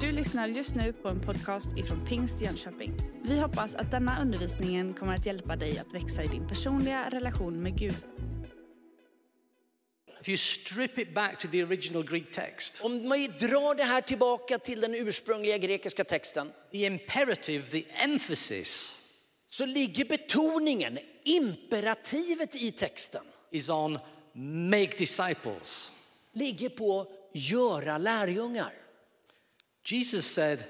Du lyssnar just nu på en podcast ifrån Pingst Jönköping. Vi hoppas att denna undervisning kommer att hjälpa dig att växa i din personliga relation med Gud. If you strip it back to the original Greek text, Om man drar det här tillbaka till den ursprungliga grekiska texten the imperative, the emphasis så ligger betoningen, imperativet i texten, is on make disciples. ligger på göra lärjungar. Jesus said,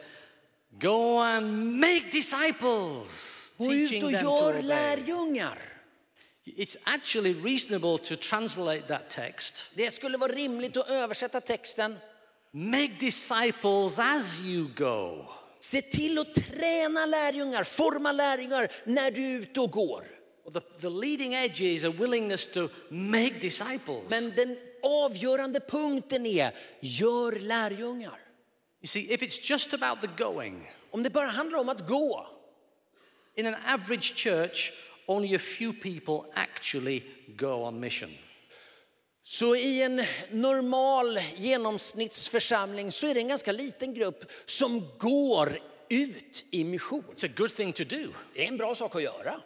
Go and make disciples, Gå ut teaching och them to gör obey. lärjungar. It's actually reasonable to translate that text Det skulle vara rimligt att översätta texten. make disciples as you go. Se till att träna lärjungar, forma lärjungar när du är ute och går. The, the leading edge is a willingness to make disciples. Men den avgörande punkten är, gör lärjungar. you see, if it's just about the going, Om det bara handlar om att gå, in an average church, only a few people actually go on mission. Så i en normal genomsnittsförsamling så är det en ganska liten grupp som går ut i mission. It's a good thing to do, Det är en bra sak att göra.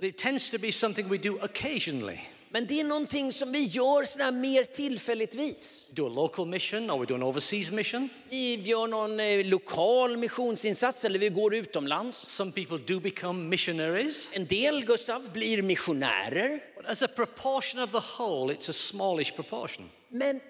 but it tends to be something we do occasionally. Men det är någonting som vi gör sådär mer tillfälligtvis. We do a local mission or we do an overseas mission. Vi gör någon eh, lokal missionsinsats eller vi går utomlands. Some people do become missionaries, En del, Gustav, blir missionärer. but as a proportion of the whole, it's a smallish proportion. Men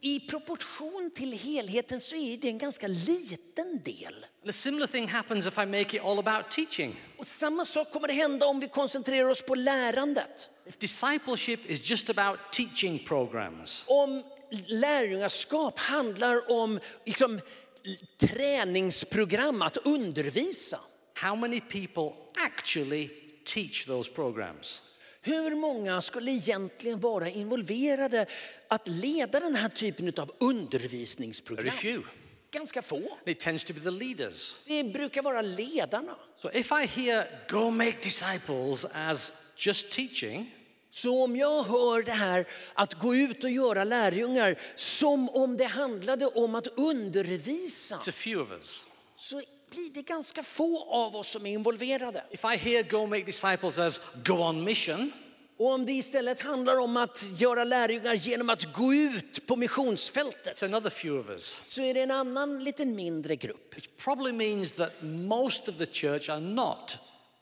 i proportion till helheten så är det en ganska liten del. And a similar thing happens if I make it all about teaching. Och samma sak kommer att hända om vi koncentrerar oss på lärandet. If discipleship is just about teaching programs, om lärjungaskap handlar om liksom, träningsprogram, att undervisa. how many people actually teach those programs? Hur många skulle egentligen vara involverade att leda den här typen av Very undervisningsprogram? few. Ganska få. It tends to be the leaders. Det brukar vara ledarna. So if I hear go make disciples as just teaching, Så om jag hör det här att gå ut och göra lärjungar som om det handlade om att undervisa it's a few of us. så blir det ganska få av oss som är involverade. If I hear go make disciples as go on mission, Och om det istället handlar om att göra lärjungar genom att gå ut på it's missionsfältet another few of us. så är det en annan liten mindre grupp. Which probably means that most of the church are not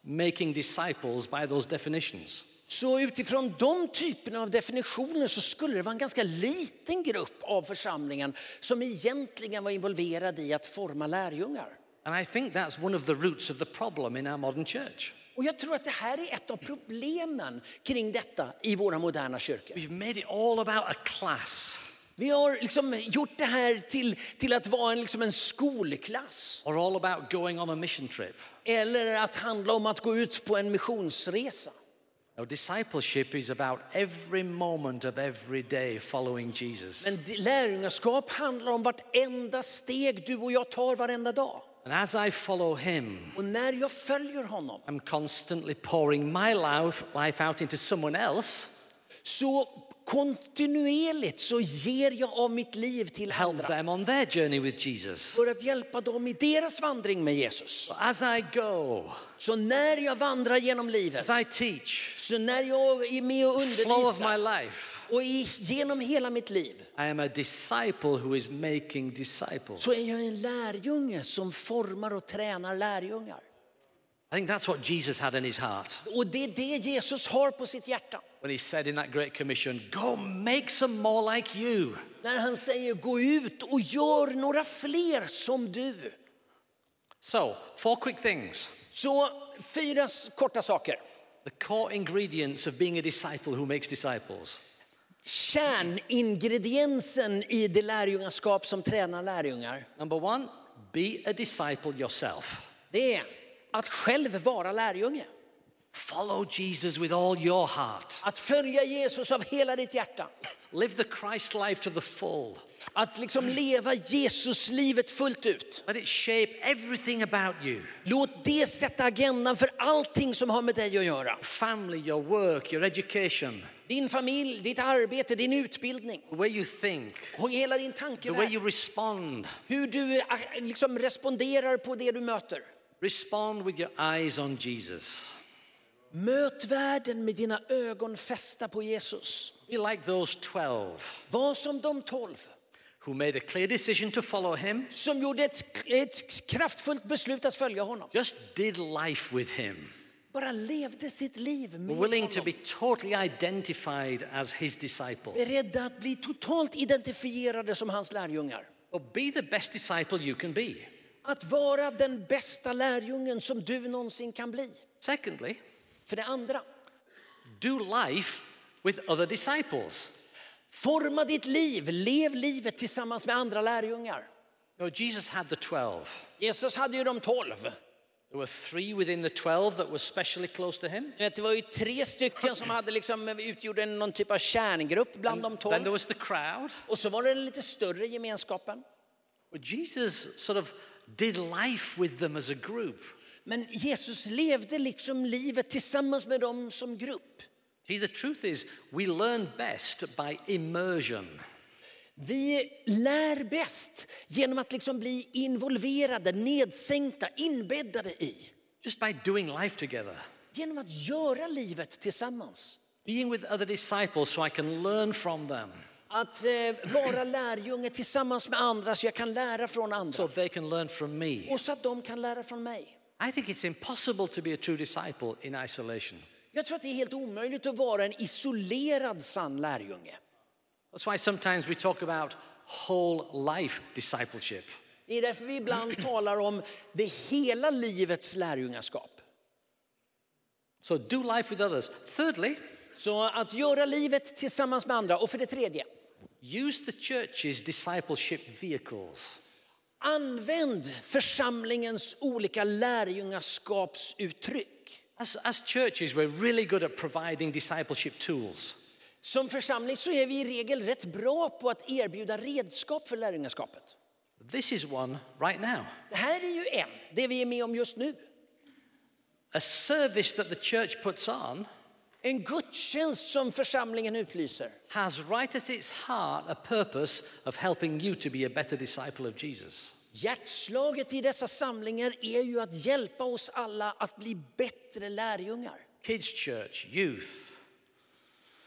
making disciples by those definitions. Så utifrån de typerna av definitioner så skulle det vara en ganska liten grupp av församlingen som egentligen var involverad i att forma lärjungar. And I think that's one of the roots of the problem in our modern church. Och jag tror att det här är ett av problemen kring detta i våra moderna kyrkor. We've made it all about a class Vi har liksom gjort det här till, till att vara en, liksom en skolklass or all about going on a mission trip. eller att handla om att gå ut på en missionsresa. No, discipleship is about every moment of every day following Jesus. Men det- lärjungaskap handlar om vartenda steg du och jag tar varenda dag. And as I follow him, Och när jag följer honom I'm constantly pouring my life, life out into someone else så kontinuerligt så ger jag av mitt liv till to help andra them on their journey with Jesus. för att hjälpa dem i deras vandring med Jesus. As I go, Så när jag vandrar genom livet, as I teach, så när jag är med och flow of my undervisar life, och i, genom hela mitt liv I am a disciple who is making disciples. så är jag en lärjunge som formar och tränar lärjungar. I think that's what Jesus had in his heart Och det är det Jesus har på sitt hjärta. when he said in that Great Commission, Go make some more like you. När han säger gå ut och gör några fler som du. So, four quick things. Så fyra s- korta saker. The core ingredients of being a disciple who makes disciples. Kärningrediensen i det lärjungaskap som tränar lärjungar, Number one, be a disciple yourself. det är att själv vara lärjunge. Follow Jesus with all your heart. Att följa Jesus av hela ditt hjärta. Live the Christ life to the full. Att liksom leva Jesuslivet fullt ut. Let it shape everything about you Låt det sätta agendan för allting som har med dig att göra. family, your work, your education, Din familj, ditt arbete, din utbildning the way you think, och hela din the way tankevärld. you respond. Hur du eh, liksom responderar på det du möter. Respond with your eyes on Jesus. Möt världen med dina ögon fästa på Jesus. Be like those 12 Var som de tolv who made a clear decision to follow him, som gjorde ett, ett kraftfullt beslut att följa honom. just did life with him, Bara levde sitt liv med willing to honom. be totally identified as his disciple. Beredda att bli totalt identifierade som hans lärjungar. But be the best disciple you can be. Att vara den bästa lärjungen som du någonsin kan bli. Secondly, För det andra, do life with other disciples. forma ditt liv. Lev livet tillsammans med andra lärjungar. No, Jesus had the 12. Jesus hade ju de tolv. There were three within the 12 that were specially close to him. Du vet, Det var ju tre stycken som hade liksom utgjorde någon typ av kärngrupp bland de Then there tolv. was the crowd. Och så var det den lite större gemenskapen. But Jesus sort of did life with them as a group. Men Jesus levde liksom livet tillsammans med dem som grupp. See, the truth is, we learn best by immersion. Vi lär bäst genom att liksom bli involverade, nedsänkta, inbäddade i. Just by doing life together, Genom att göra livet tillsammans. being with other disciples so I can learn from them, Att eh, vara lärjunge tillsammans med andra så jag kan lära från so andra. they can learn from me. Och så att de kan lära från mig. I think it's impossible to be a true disciple in isolation. Jag tror att det är helt omöjligt att vara en isolerad sann lärjunge. That's why sometimes we talk about whole life discipleship. Det är därför vi ibland talar om det hela livets lärjungaskap. So do life with others. Thirdly, Så att göra livet tillsammans med andra. Och för det tredje, use the church's discipleship vehicles. använd församlingens olika lärjungaskapsuttryck. As, as churches, we're really good at providing discipleship tools. Som församling så är vi i regel rätt bra på att erbjuda redskap för lärjungaskapet. This is one right now. Det här är ju en, det vi är med om just nu. A service that the church puts on En gudstjänst som församlingen utlyser has right at its heart a purpose of helping you to be a better disciple of Jesus. Hjärtslaget i dessa samlingar är ju att hjälpa oss alla att bli bättre lärjungar. Kids' church, youth,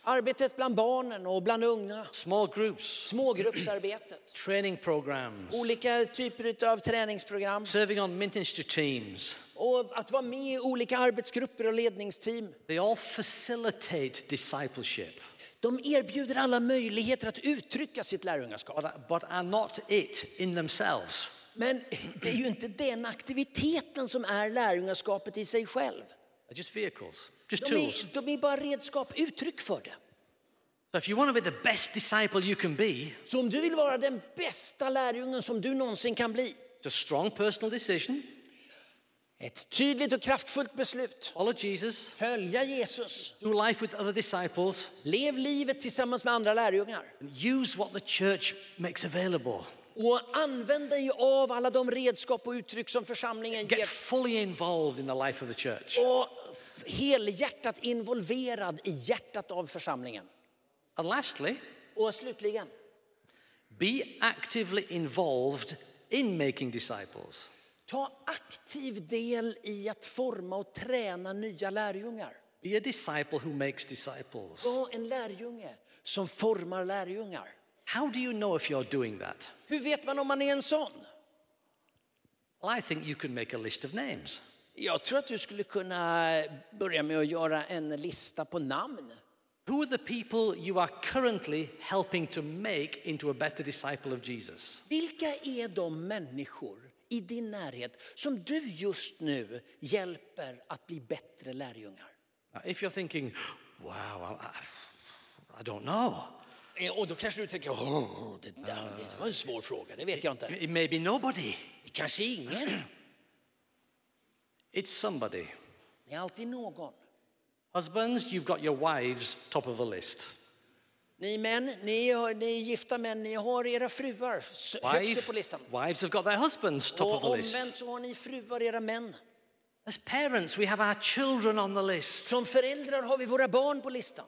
Arbetet bland barnen och bland unga, small groups, smågruppsarbetet, training programs, olika typer av träningsprogram serving on ministry teams. och att vara med i olika arbetsgrupper och ledningsteam. They all facilitate discipleship, De erbjuder alla möjligheter att uttrycka sitt lärjungaskap. but, but are not it in themselves. Men det är ju inte den aktiviteten som är lärjungaskapet i sig själv. They're just vehicles, just De tools. är, de är bara redskap, uttryck för det. So if you want to be the best disciple you can be, Så om du vill vara den bästa lärjungen som du någonsin kan bli, it's a strong personal decision. ett tydligt och kraftfullt beslut. Follow Jesus, Följa Jesus. do life with other disciples, Lev livet tillsammans med andra lärjungar. and use what the church makes available. Och använd dig av alla de redskap och uttryck som församlingen Get ger. fully involved in the life of the church. Och f- helhjärtat involverad i hjärtat av församlingen. And lastly, Och slutligen, be actively involved in making disciples. ta aktiv del i att forma och träna nya lärjungar. Be a disciple who makes disciples. Var en lärjunge som formar lärjungar. How do you know if you're doing that? Hur vet man om man är en sån? Well, I think you can make a list of names. Jag tror att du skulle kunna börja med att göra en lista på namn. Who are the people you are currently helping to make into a better disciple of Jesus? Vilka är de människor i din närhet som du just nu hjälper att bli bättre lärjungar? Now, if you're thinking, wow, I, I- I don't know, Eh, Och då kanske du tänker, "Åh, det, där, det var en svår fråga, det vet jag inte. it may be nobody, Det Kanske ingen. it's somebody. Det är alltid någon. Husbands, you've got your wives top of the list. Ni män, ni, har, ni är gifta män, ni har era fruar s- högst upp Wife, på listan. wives have got their husbands top of Och the list. omvänt så har ni fruar, era män. As parents, we have our children on the list. Som föräldrar har vi våra barn på listan.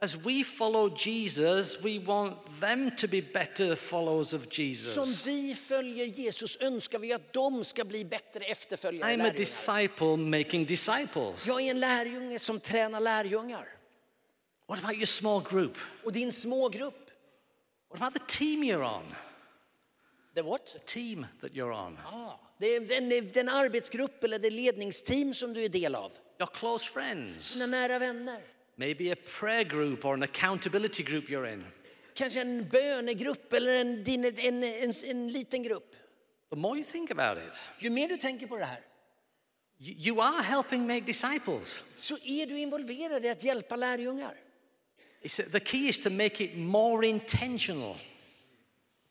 As we follow Jesus, we want them to be better followers of Som Jesus. vi följer Jesus önskar vi att de ska bli bättre efterföljare. I'm a lärjungar. disciple making disciples. Jag är en lärjunge som tränar lärjungar. What about your small group? Och din smågrupp, What about the team you're on? the what? Team that you're on? Ah, det är den, den arbetsgrupp eller det ledningsteam som du är del av. Your close friends? Dina nära vänner. Maybe a prayer group or an accountability group you're in. Kanske en bönegrupp eller en, din, en, en, en, liten grupp. The more you think about it, Ju mer du tänker på det här you you are helping make disciples. så är du involverad i att hjälpa lärjungar. It's, the key is to make it more intentional.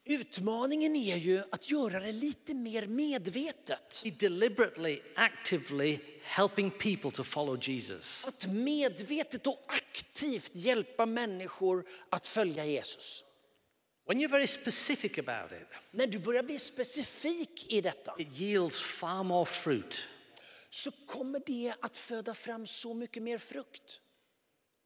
Utmaningen är ju att göra det lite mer medvetet. Be deliberately, actively helping people to follow Jesus. Att medvetet och aktivt hjälpa människor att följa Jesus. When you're very specific about it, När du börjar bli specifik i detta it yields far more fruit. så kommer det att föda fram så mycket mer frukt.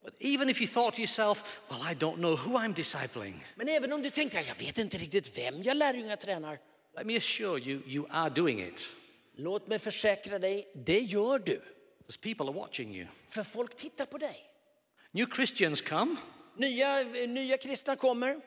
But even if you thought to yourself, well, I don't know who I'm discipling, Men även om du tänkte jag vet inte riktigt vem jag lärjungar tränar. let me assure you, you are doing it Låt mig försäkra dig, det gör du. because people are watching you. För folk tittar på dig. New Christians come Nya, nya kristna kommer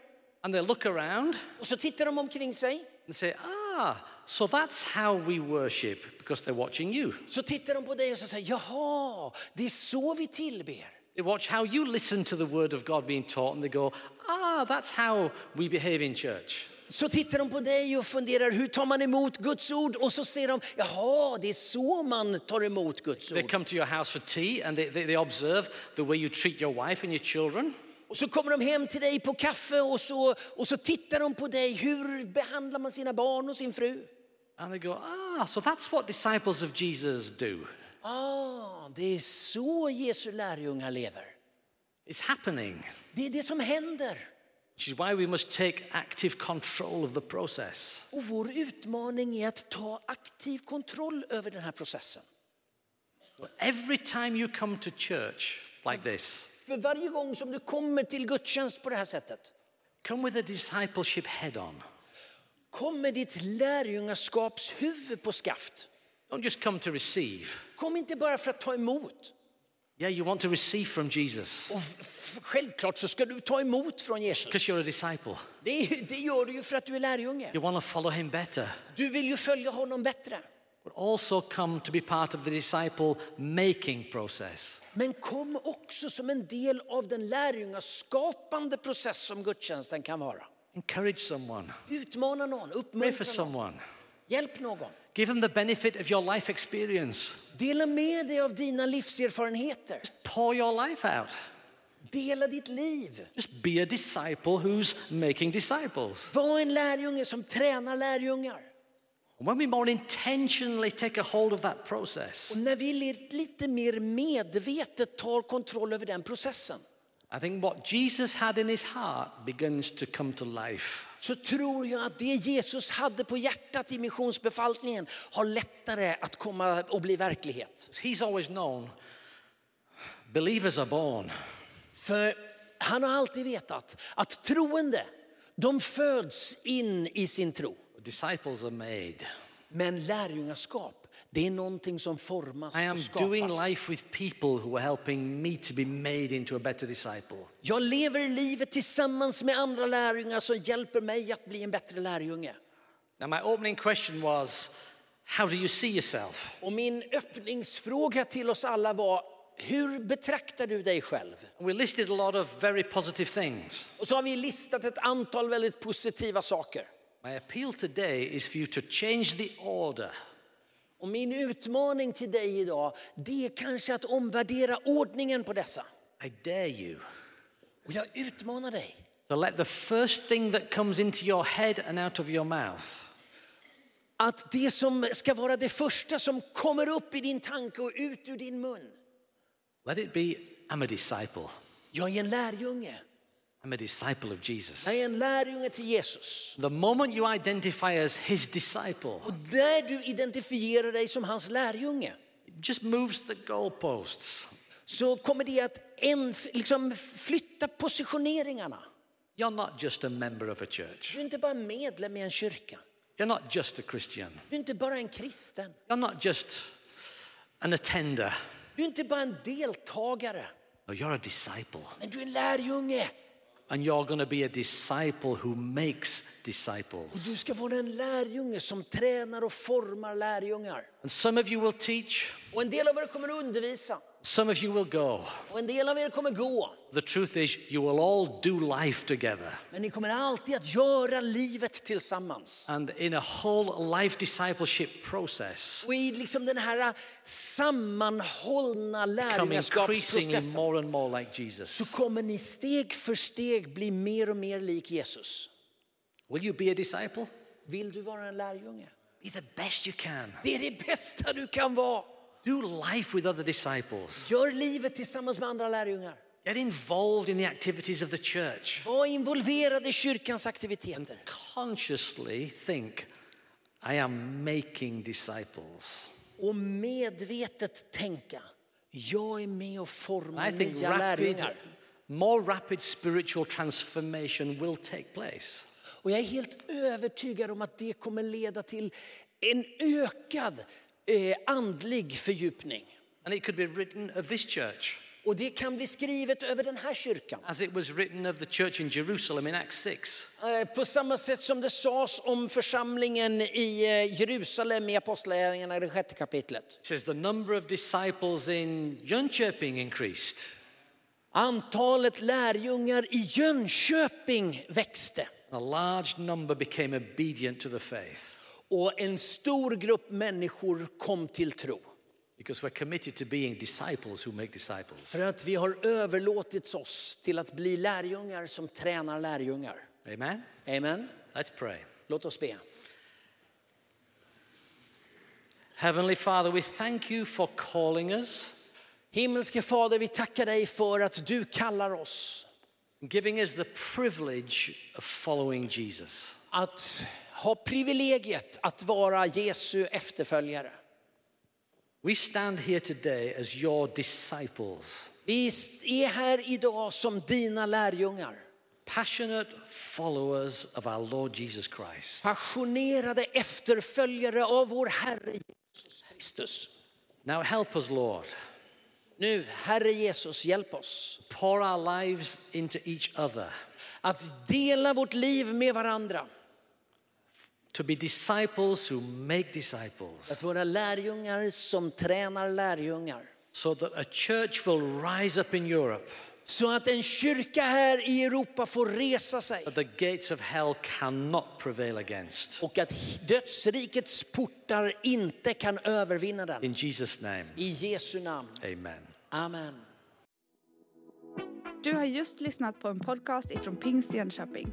and they look around och så tittar de omkring sig. and say, ah, so that's how we worship because they're watching you. Så tittar de på dig och så säger jaha, det är så vi tillber. They watch how you listen to the word of God being taught and they go, ah, that's how we behave in church. Så tittar de på dig och funderar hur tar man emot Guds ord och så ser de jaha, det är så man tar emot Guds They ord. come to your house for tea and they, they, they observe the way you treat your wife and your children. Och så kommer de hem till dig på kaffe och så, och så tittar de på dig. Hur behandlar man sina barn och sin fru? And they go, ah, so that's what disciples of Jesus do. Ah, det är så Jesu lärjungar lever. It's happening, Det är det som händer. which is why we must take active control of the process. Och vår utmaning är att ta aktiv kontroll över den här processen. Every time you come to church like this, För varje gång som du kommer till gudstjänst på det här sättet come with a discipleship head on. kommer ditt lärjungaskapshuvud på skaft. Don't just come to receive. Kom inte bara för att ta emot. Yeah, you want to receive from Jesus Och f- f- självklart så ska du ta emot från Jesus. because you're a disciple. Det, är- det gör du ju för att du är lärjunge. You want to follow him better, Du vill ju följa honom bättre. but also come to be part of the disciple making process. Men kom också som en del av den lärjungaskapande process som gudstjänsten kan vara. Encourage someone, Utmana någon, pray for uppmuntra någon, someone, hjälp någon. give them the benefit of your life experience, Dela med dig av dina livserfarenheter. pour your life out. Dela ditt liv. Just be a disciple who's making disciples. Var en lärjunge som tränar lärjungar. And when we more intentionally take a hold of that process, Och när vi le- lite mer medvetet tar kontroll över den processen I think what Jesus had in his heart begins to come to life. så tror jag att det Jesus hade på hjärtat i missionsbefallningen har lättare att komma och bli verklighet. He's always known believers are born. För han har alltid vetat att troende, de föds in i sin tro. Disciples are made. Men lärjungaskap, det är någonting som formas I am och doing skapas. life with people who are helping me to be made into a better disciple. Jag lever livet tillsammans med andra lärjungar som hjälper mig att bli en bättre lärjunge. Now, my opening question was How do you see yourself? Och min öppningsfråga till oss alla var, hur betraktar du dig själv? And we listed a lot of very positive things. Och så har vi listat ett antal väldigt positiva saker. My appeal today is for you to change the order. Och min utmaning till dig idag, det är kanske att omvärdera ordningen på dessa. I dare you Och jag utmanar dig to let the first thing that comes into your head and out of your mouth att det som ska vara det första som kommer upp i din tanke och ut ur din mun. Let it be, I'm a disciple. Jag är en lärjunge. I'm a disciple of Jesus. Jag är en lärjunge till Jesus. The moment you identify as his disciple, Och där du identifierar dig som hans lärjunge it just moves the goalposts. så kommer det att en, liksom, flytta positioneringarna. You're not just a member of a church. Du är inte bara medlem i en kyrka. You're not just a Christian. Du är inte bara en kristen. You're not just an attender. Du är inte bara en deltagare. No, you're a disciple. Men du är en lärjunge. And you're going to be a disciple who makes disciples. Du ska vara en lärjunge som tränar och formar lärjungar. And some of you will teach, Och en del av er kommer att undervisa. some of you will go. Och en del av er kommer gå. The truth is, you will all do life together. Men ni kommer alltid att göra livet tillsammans. And in a whole life discipleship process, Och i liksom den här sammanhållna become increasingly lärjungaskapsprocessen more and more like så Jesus. kommer ni steg för steg bli mer och mer lik Jesus. Will you be a disciple? Vill du vara en lärjunge? Be the best you can. Det är det bästa du kan vara. Do life with other disciples. Gör livet tillsammans med andra lärjungar. Get involved in the activities of the church. Var involverad i kyrkans aktiviteter. Consciously think, I am making disciples. Och medvetet tänka. Jag är med And och formar I think nya rapid, lärjungar. more rapid spiritual transformation will take place. Och jag är helt övertygad om att det kommer leda till en ökad eh, andlig fördjupning. And it could be written of this church, Och det kan bli skrivet över den här kyrkan. as it was written of the church in Jerusalem in Acts 6. Eh, På samma sätt som det sades om församlingen i eh, Jerusalem i Apostlagärningarna i det sjätte kapitlet. It says the number of disciples in Jönköping increased. Antalet lärjungar i Jönköping växte A large number became obedient to the faith och en stor grupp människor kom till tro. because we're committed to being disciples who make disciples. För att vi har överlåtits oss till att bli lärjungar som tränar lärjungar. Amen? Amen. Let's pray. Låt oss be. Heavenly Father, we thank you for calling us, Himmelske Fader, vi tackar dig för att du kallar oss giving us the privilege of following Jesus. att ha privilegiet att vara Jesu efterföljare. We stand here today as your disciples, Vi är här idag som dina lärjungar. passionate followers of our Lord Jesus Christ. passionerade efterföljare av vår Herre Jesus Kristus. Now help us, Lord, Nu, Herre Jesus, hjälp oss pour our lives into each other. att dela vårt liv med varandra. to be disciples who make disciples Att vara lärjungar som tränar lärjungar. so that a church will rise up in Europe Så att en kyrka här i Europa får resa sig that the gates of hell cannot prevail against. och att dödsrikets portar inte kan övervinna den. In Jesus' name, I Jesu namn. amen. Amen. Du har just lyssnat på en podcast ifrån Pingst Jönköping.